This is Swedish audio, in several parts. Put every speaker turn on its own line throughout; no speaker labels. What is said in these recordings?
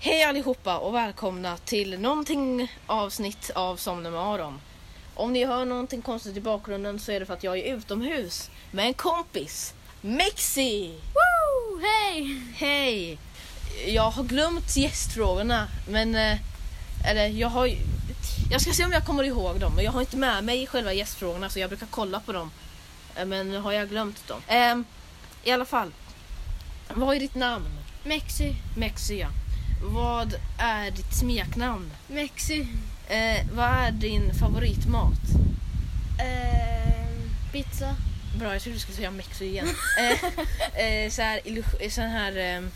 Hej allihopa och välkomna till någonting avsnitt av Somna med Aron. Om ni hör någonting konstigt i bakgrunden så är det för att jag är utomhus med en kompis. Mexi!
Woo! Hej!
Hej! Jag har glömt gästfrågorna men... eh, Eller jag har ju- Jag ska se om jag kommer ihåg dem men jag har inte med mig själva gästfrågorna så jag brukar kolla på dem. Eh, Men nu har jag glömt dem. Ehm, I alla fall. Vad är ditt namn?
Mexi,
Mexi ja. Vad är ditt smeknamn?
Mexi.
Eh, vad är din favoritmat?
Ehm, pizza.
Bra, jag trodde du skulle säga Mexi igen. eh, eh, så här, illu- eh, sån här ehm,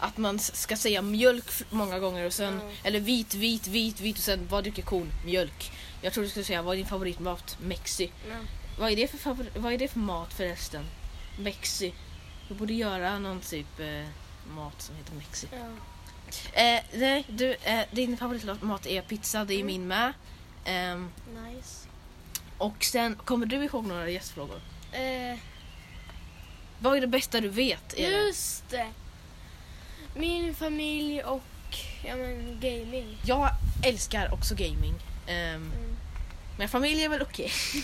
att man s- ska säga mjölk f- många gånger och sen,
Ja.
eller vit, vit, vit, vit och sen vad dricker kon? Mjölk. Jag trodde du skulle säga vad är din favoritmat? Mexi.
Ja.
Vad är det för, favor- vad är det för mat förresten? Mexi. Du borde göra någon typ eh, mat som heter Mexi.
Ja.
Eh, nej, du, eh, din favoritmat är pizza, det är
Mm.
min med. Ehm,
Nice.
och sen, kommer du ihåg några gästfrågor?
Eh,
Vad är det bästa du vet? Är det?
just det. Min familj och ja, men, gaming.
Jag älskar också gaming. Ehm,
Mm.
men familj är väl okej.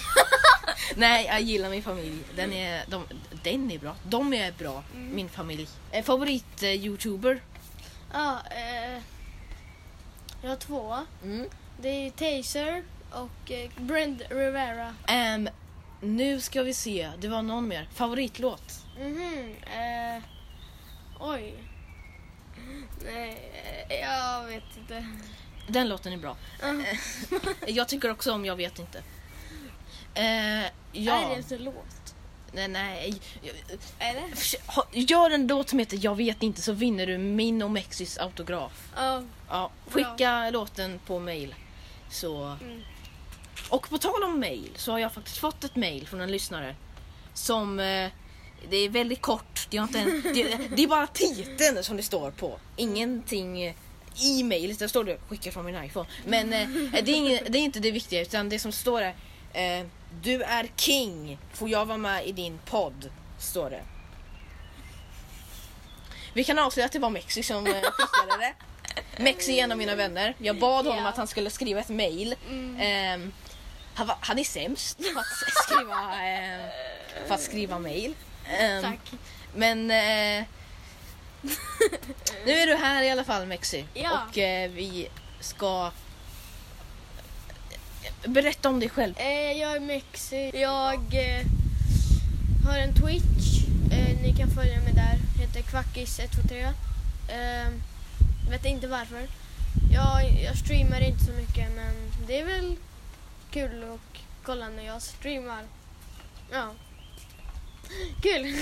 nej, jag gillar min familj. Den är, de, den är bra. De är bra,
Mm.
min familj. Eh, Favorit-youtuber?
Ja, eh, jag har två. Det är Taser och eh, Brand Rivera.
Ehm, nu ska vi se, det var någon mer. Favoritlåt?
Mhm. Eh, oj. Nej, eh, jag vet inte.
Den låten är bra.
Uh,
Jag tycker också om Jag vet inte. Eh, ja.
Är det ens en låt?
Nej, nej.
Är det?
Förs- ha- Gör en låt som heter Jag vet inte så vinner du min och Mexis autograf.
Ja.
Ja, skicka låten på mail. Så.
Mm.
Och på tal om mail så har jag faktiskt fått ett mail från en lyssnare. Som... Eh, det är väldigt kort. Det är, inte en, det, det är bara titeln som det står på. Ingenting eh, i mejlet. Där står det skicka från min iPhone. Men eh, det, är inget, det är inte det viktiga utan det som står är eh, Du är king. Får jag vara med i din podd? Står det. Vi kan avslöja att det var Mexi som eh, skickade det. Mexi är en av mina vänner. Jag bad honom
Ja.
att han skulle skriva ett mejl.
Mm.
Ehm, han, var- han är sämst på att skriva, ehm, på att skriva mejl. Ehm,
Tack.
men eh, nu är du här i alla fall Mexi.
Ja.
Och eh, vi ska berätta om dig själv.
Eh, jag är Mexi. Jag eh, har en Twitch. Eh, ni kan följa mig där. Heter Kvackis123. Eh, vet inte varför. Jag, jag streamar inte så mycket men det är väl kul att kolla när jag streamar. Ja. Kul!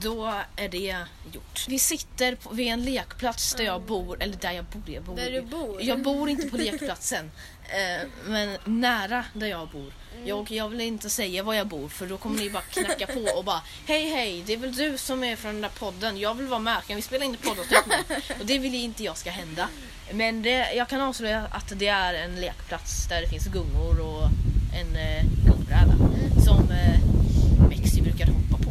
Då är det gjort. Vi sitter på, vid en lekplats där jag
Mm.
bor, eller där jag bor. Jag bor
Där du bor.
Jag bor inte på lekplatsen, eh, men nära där jag bor.
Mm.
Jag, jag vill inte säga var jag bor för då kommer ni bara knacka på och bara Hej hej, det är väl du som är från den där podden, jag vill vara med, kan vi spela in ett poddavsnitt nu? Och det vill ju inte jag ska hända. Men det, jag kan avslöja att det är en lekplats där det finns gungor och en eh, gungbräda som eh, Mexi brukade hoppa på.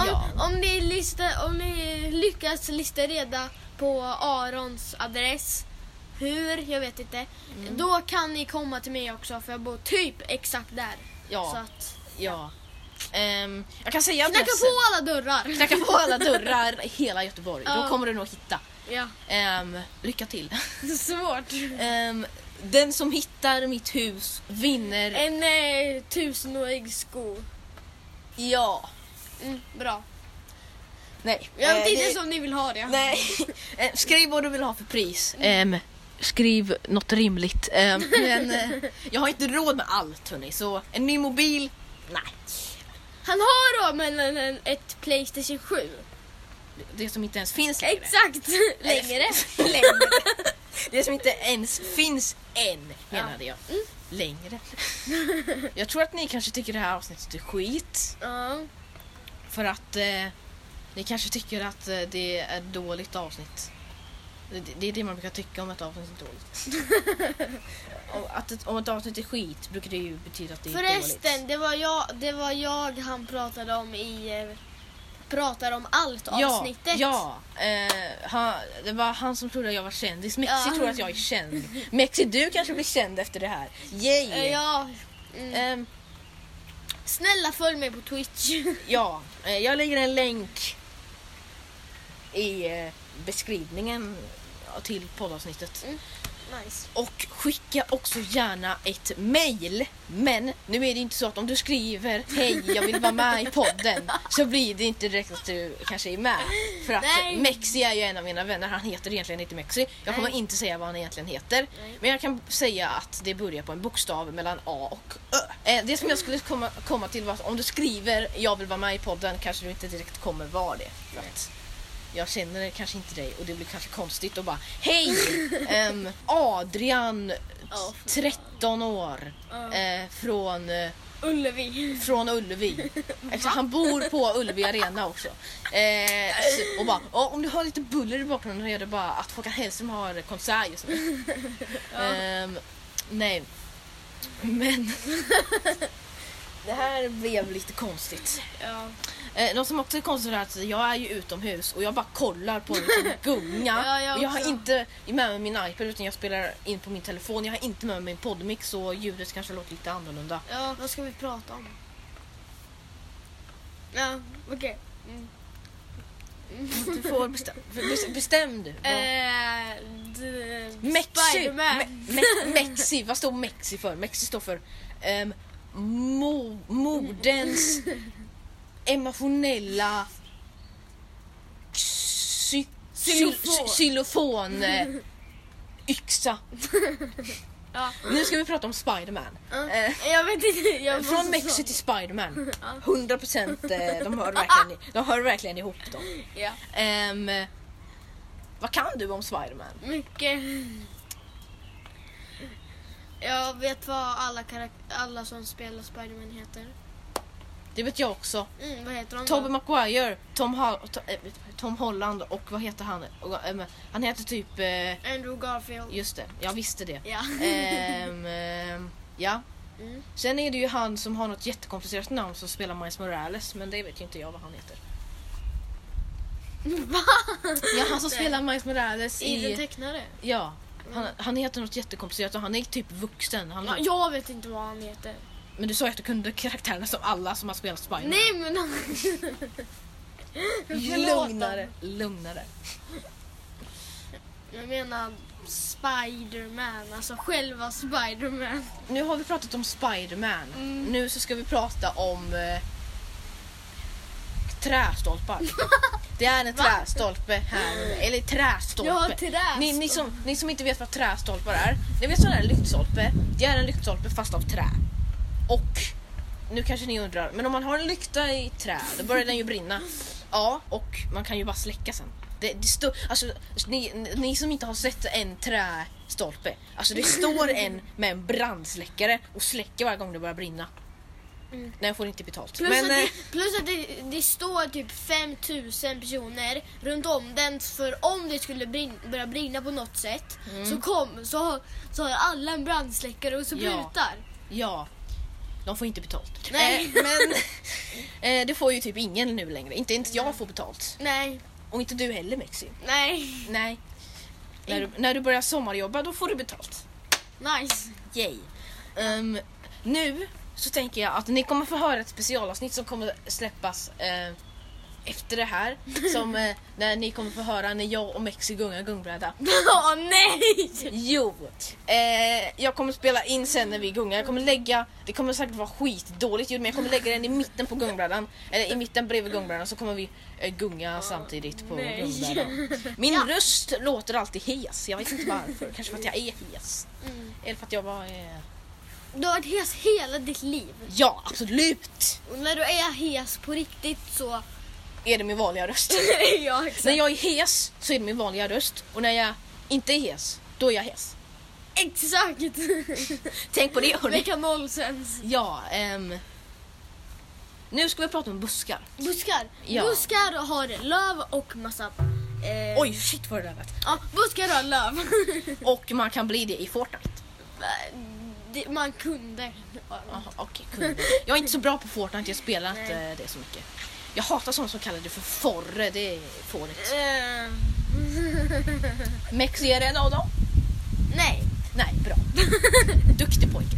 Om,
Ja.
om, ni lista, om ni lyckas lista reda på Arons adress, hur, jag vet inte.
Mm.
Då kan ni komma till mig också för jag bor typ exakt där.
Ja,
Så att,
ja. Ehm, jag kan säga
knacka på alla dörrar!
Knacka på alla dörrar i hela Göteborg, då
Ja.
kommer du nog hitta.
Ja,
Ehm, lycka till.
svårt.
Ehm, den som hittar mitt hus vinner.
En eh, tusenårig sko.
Ja.
Mm, bra.
Nej.
Jag
Eh,
vet inte
det-
som ni vill ha det.
Nej. Eh, skriv vad du vill ha för pris. Ehm, skriv något rimligt. Ehm, men eh, jag har inte råd med allt hörni, så en ny mobil, nej.
Han har då men en, en, ett Playstation 7.
Det som inte ens finns längre.
Exakt! Längre.
Längre. Det som inte ens finns än menade jag. Längre. Jag tror att ni kanske tycker det här avsnittet är skit.
Ja.
För att eh, ni kanske tycker att eh, det är ett dåligt avsnitt. Det, det är det man brukar tycka om ett avsnitt är dåligt. om, att ett, om ett avsnitt är skit brukar det ju betyda att det är typ dåligt.
Förresten, det var, jag, det var jag han pratade om i eh, pratar om allt avsnittet.
Ja, ja. Eh, han, det var han som trodde att jag var kändis. Mexi
Ja.
tror att jag är känd. Mexi, du kanske blir känd efter det här.
Eh,
Yay!
ja. Mm.
Ehm,
Snälla följ mig på Twitch.
ja, eh, jag lägger en länk i eh, beskrivningen till poddavsnittet.
nice.
Och skicka också gärna ett mail. Men nu är det inte så att om du skriver hej jag vill vara med i podden så blir det inte direkt att du kanske är med. För att
Nej.
Mexi är ju en av mina vänner. Han heter egentligen inte Mexi. Jag kommer
Nej.
inte säga vad han egentligen heter.
Nej.
Men jag kan säga att det börjar på en bokstav mellan A och Ö. Eh, Det som jag skulle komma, komma till var att om du skriver jag vill vara med i podden kanske du inte direkt kommer vara det. För att jag känner kanske inte dig och det blir kanske konstigt att bara Hej! ehm, Adrian,
Ja, för
13 år,
Ja.
eh, från, eh,
Ullevi.
från Ullevi. Eftersom han bor på Ullevi Arena också. Eh, så- och bara, "Ja, om du hör lite buller i bakgrunden så är det bara att Håkan Hellström har konsert just nu. Ehm, nej. Men... Det här blev lite konstigt.
Ja.
Eh, något som också är konstigt är att jag är ju utomhus och jag bara kollar på en liten gunga.
Ja, jag
och jag har
också.
inte med mig min iPad utan jag spelar in på min telefon. Jag har inte med mig min poddmix så ljudet kanske låter lite annorlunda.
ja, vad ska vi prata om? Ja, okej. Mm.
Du får bestäm, bes- bestäm du. Vad-
Eh, d-
Mexi!
Spiderman.
Me- me- Mexi, vad står Mexi för? Mexi står för um, mo- modens emotionella psy- psy-
Xylofon.
xylofon eh, yxa.
Ja.
Nu ska vi prata om Spiderman.
Ja.
Eh,
Jag vet inte. Jag
Från
måste-
Mexi till Spiderman.
Ja.
100 procent, eh, de, hör verkligen- de hör verkligen ihop dem.
Ja.
Ehm, vad kan du om Spiderman?
Mycket. Jag vet vad alla, karak- alla som spelar Spiderman heter.
Det vet jag också.
Mm, vad heter de?
Tobey
då?
Maguire, Tom, ha- to- eh, Tom Holland och vad heter han? Och, ehm, han heter typ... eh,
Andrew Garfield.
Just det, jag visste det.
Ja.
Ehm, ehm, ja.
Mm.
Sen är det ju han som har något jättekomplicerat namn som spelar Miles Morales men det vet ju inte jag vad han heter.
Va?
Ja, han som spelar Miles Morales
I den
i...
tecknare?
Ja, han, han heter något jättekomplicerat och han är typ vuxen. Han,
Ja, jag vet inte vad han heter.
Men du sa ju att du kunde karaktärerna som alla som har spelat Spiderman.
Nej men han... Förlåt.
Lugnare, lugnare.
Jag menar Spiderman, alltså själva Spiderman.
Nu har vi pratat om Spiderman.
Mm.
Nu så ska vi prata om eh, trästolpar. Det är en trästolpe här. Eller trästolpe.
Ja, trästolpe.
Ni, ni, som, ni som inte vet vad trästolpar är. Ni vet sån här lyktstolpe. Det är en lyktstolpe fast av trä. Och nu kanske ni undrar, men om man har en lykta i trä då börjar den ju brinna. Ja, och man kan ju bara släcka sen. Det, det stå, alltså, ni, ni som inte har sett en trästolpe, alltså det står en med en brandsläckare och släcker varje gång det börjar brinna.
Mm.
Den får inte betalt.
Plus
men,
att,
eh,
det, plus att det, det står typ 5000 personer runt om den för om det skulle brin, börja brinna på något sätt så, kom, så, har- så har alla en brandsläckare och så
Mm. Ja.
brutar.
Ja, de får inte betalt.
Nej.
Eh, men eh, det får ju typ ingen nu längre. Inte ens jag får betalt.
Nej,
Och inte du heller Mexi.
nej,
Nej. När du, när du börjar sommarjobba då får du betalt.
nice.
Yay. Ehm, nu så tänker jag att ni kommer få höra ett specialavsnitt som kommer släppas eh, efter det här. Som eh, när ni kommer få höra när jag och Mexi gungar gungbräda.
Åh nej!
Jo! Eh, jag kommer spela in sen när vi gungar. Jag kommer lägga, det kommer säkert vara skitdåligt ljud men jag kommer lägga den i mitten på gungbrädan. Eller i mitten bredvid gungbrädan så kommer vi eh, gunga samtidigt på
nej.
gungbrädan. Min röst låter alltid hes. Jag vet inte varför. Kanske för att jag är hes.
Mm.
Eller för att jag bara är...
Du har varit hes hela ditt liv.
Ja, absolut!
Och när du är hes på riktigt så...
Är det min vanliga röst.
ja,
När
exakt.
jag är hes så är det min vanliga röst. Och när jag inte är hes, då är jag hes.
Exakt!
Tänk på det hörni.
Vecka nonsens.
Ja, ehm... Nu ska vi prata om buskar.
Buskar.
Ja.
Buskar har löv och massa... Eh,
Oj, shit vad det där lät.
Ja, buskar har löv.
Och man kan bli det i Fortnite.
Det- Man kunde.
Jaha, okej, kul. Jag är inte så bra på Fortnite, jag spelar inte
Nej.
eh, det så mycket. Jag hatar sådana som kallar det för forre, det är fånigt.
Eh,
Mex är en av dem.
nej.
Nej, bra. Duktig pojke.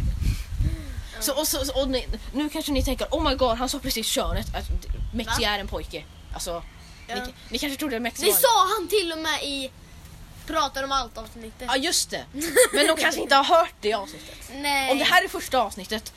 Så, och så, och ni, nu kanske ni tänker, oh my god, han sa precis könet. Att Mexi
Va?
är en pojke. Alltså,
Ja.
ni, ni kanske trodde att Mexi
Det
var en...
sa han till och med i Pratar om allt avsnittet.
Ja, just det. Men de kanske inte har hört det avsnittet.
Nej.
Om det här är första avsnittet,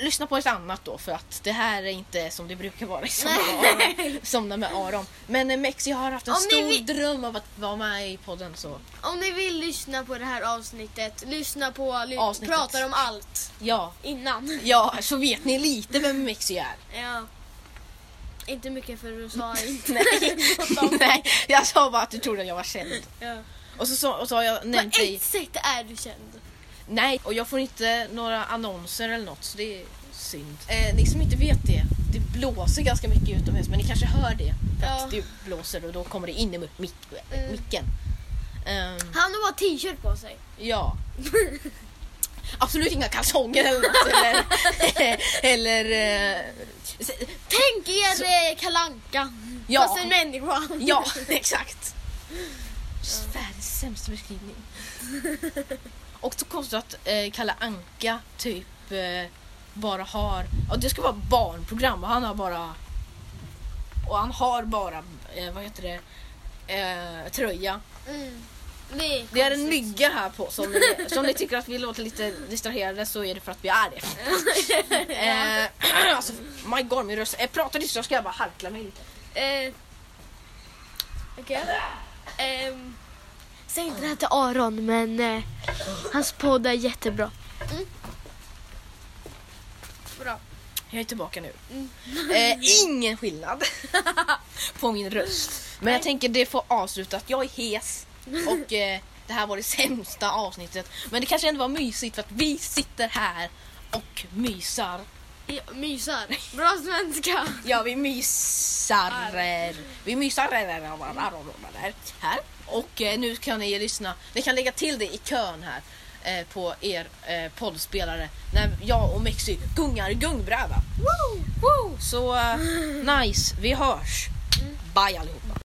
lyssna på ett annat då för att det här är inte som det brukar vara i Somna med Aron. Somna med Aron. Men eh, Mexi har haft en
Om ni
stor
vill-
dröm av att vara med i podden så
Om ni vill lyssna på det här avsnittet, lyssna på ly-
Avsnittet.
Pratar om allt
ja,
innan.
ja så vet ni lite vem Mexi är.
Ja. Inte mycket för du sa inte.
Nej, nej, jag sa bara att du trodde att jag var känd.
Ja.
Och så, sa- och så har jag
På
nämnt dig.
ett sätt är du känd.
Nej, och jag får inte några annonser eller något så det är synd. Eh, ni som inte vet det, det blåser ganska mycket utomhus men ni kanske hör det. För att
Ja.
det blåser och då kommer det in i mi- mic-
Mm.
micken. Ehm,
Han har bara t-shirt på sig.
ja. Absolut inga kalsonger eller något. Eller, eller eh, s-
Tänk er eh, kalanka
Ja.
Fast en människa.
ja, exakt. Världens sämsta beskrivning. Och så konstigt att eh, Kalle Anka typ eh, bara har, ja det ska vara barnprogram och han har bara, och han har bara, eh, vad heter det, eh, tröja.
Mm. Det är,
Det är en
konstigt.
mygga här på som ni, som ni tycker att vi låter lite distraherade så är det för att vi är det. eh, alltså, my god min röst, eh, pratar ni så ska jag bara harkla mig lite.
Eh, Okej. Ehm, säg inte det här till Aron, men eh, hans podd är jättebra. Mm. Bra.
Jag är tillbaka nu. Eh, ingen skillnad på min röst. Men jag tänker det får avslutat. Jag är hes och eh, det här var det sämsta avsnittet. Men det kanske ändå var mysigt för att vi sitter här och mysar.
Ja, Mysar. Bra svenska.
Ja, vi mysar. Vi mysar här. Och eh, nu kan ni lyssna. Ni kan lägga till det i kön här eh, på er eh, poddspelare när jag och Mexi gungar gungbräda. Så eh, nice, vi hörs. Bye allihopa.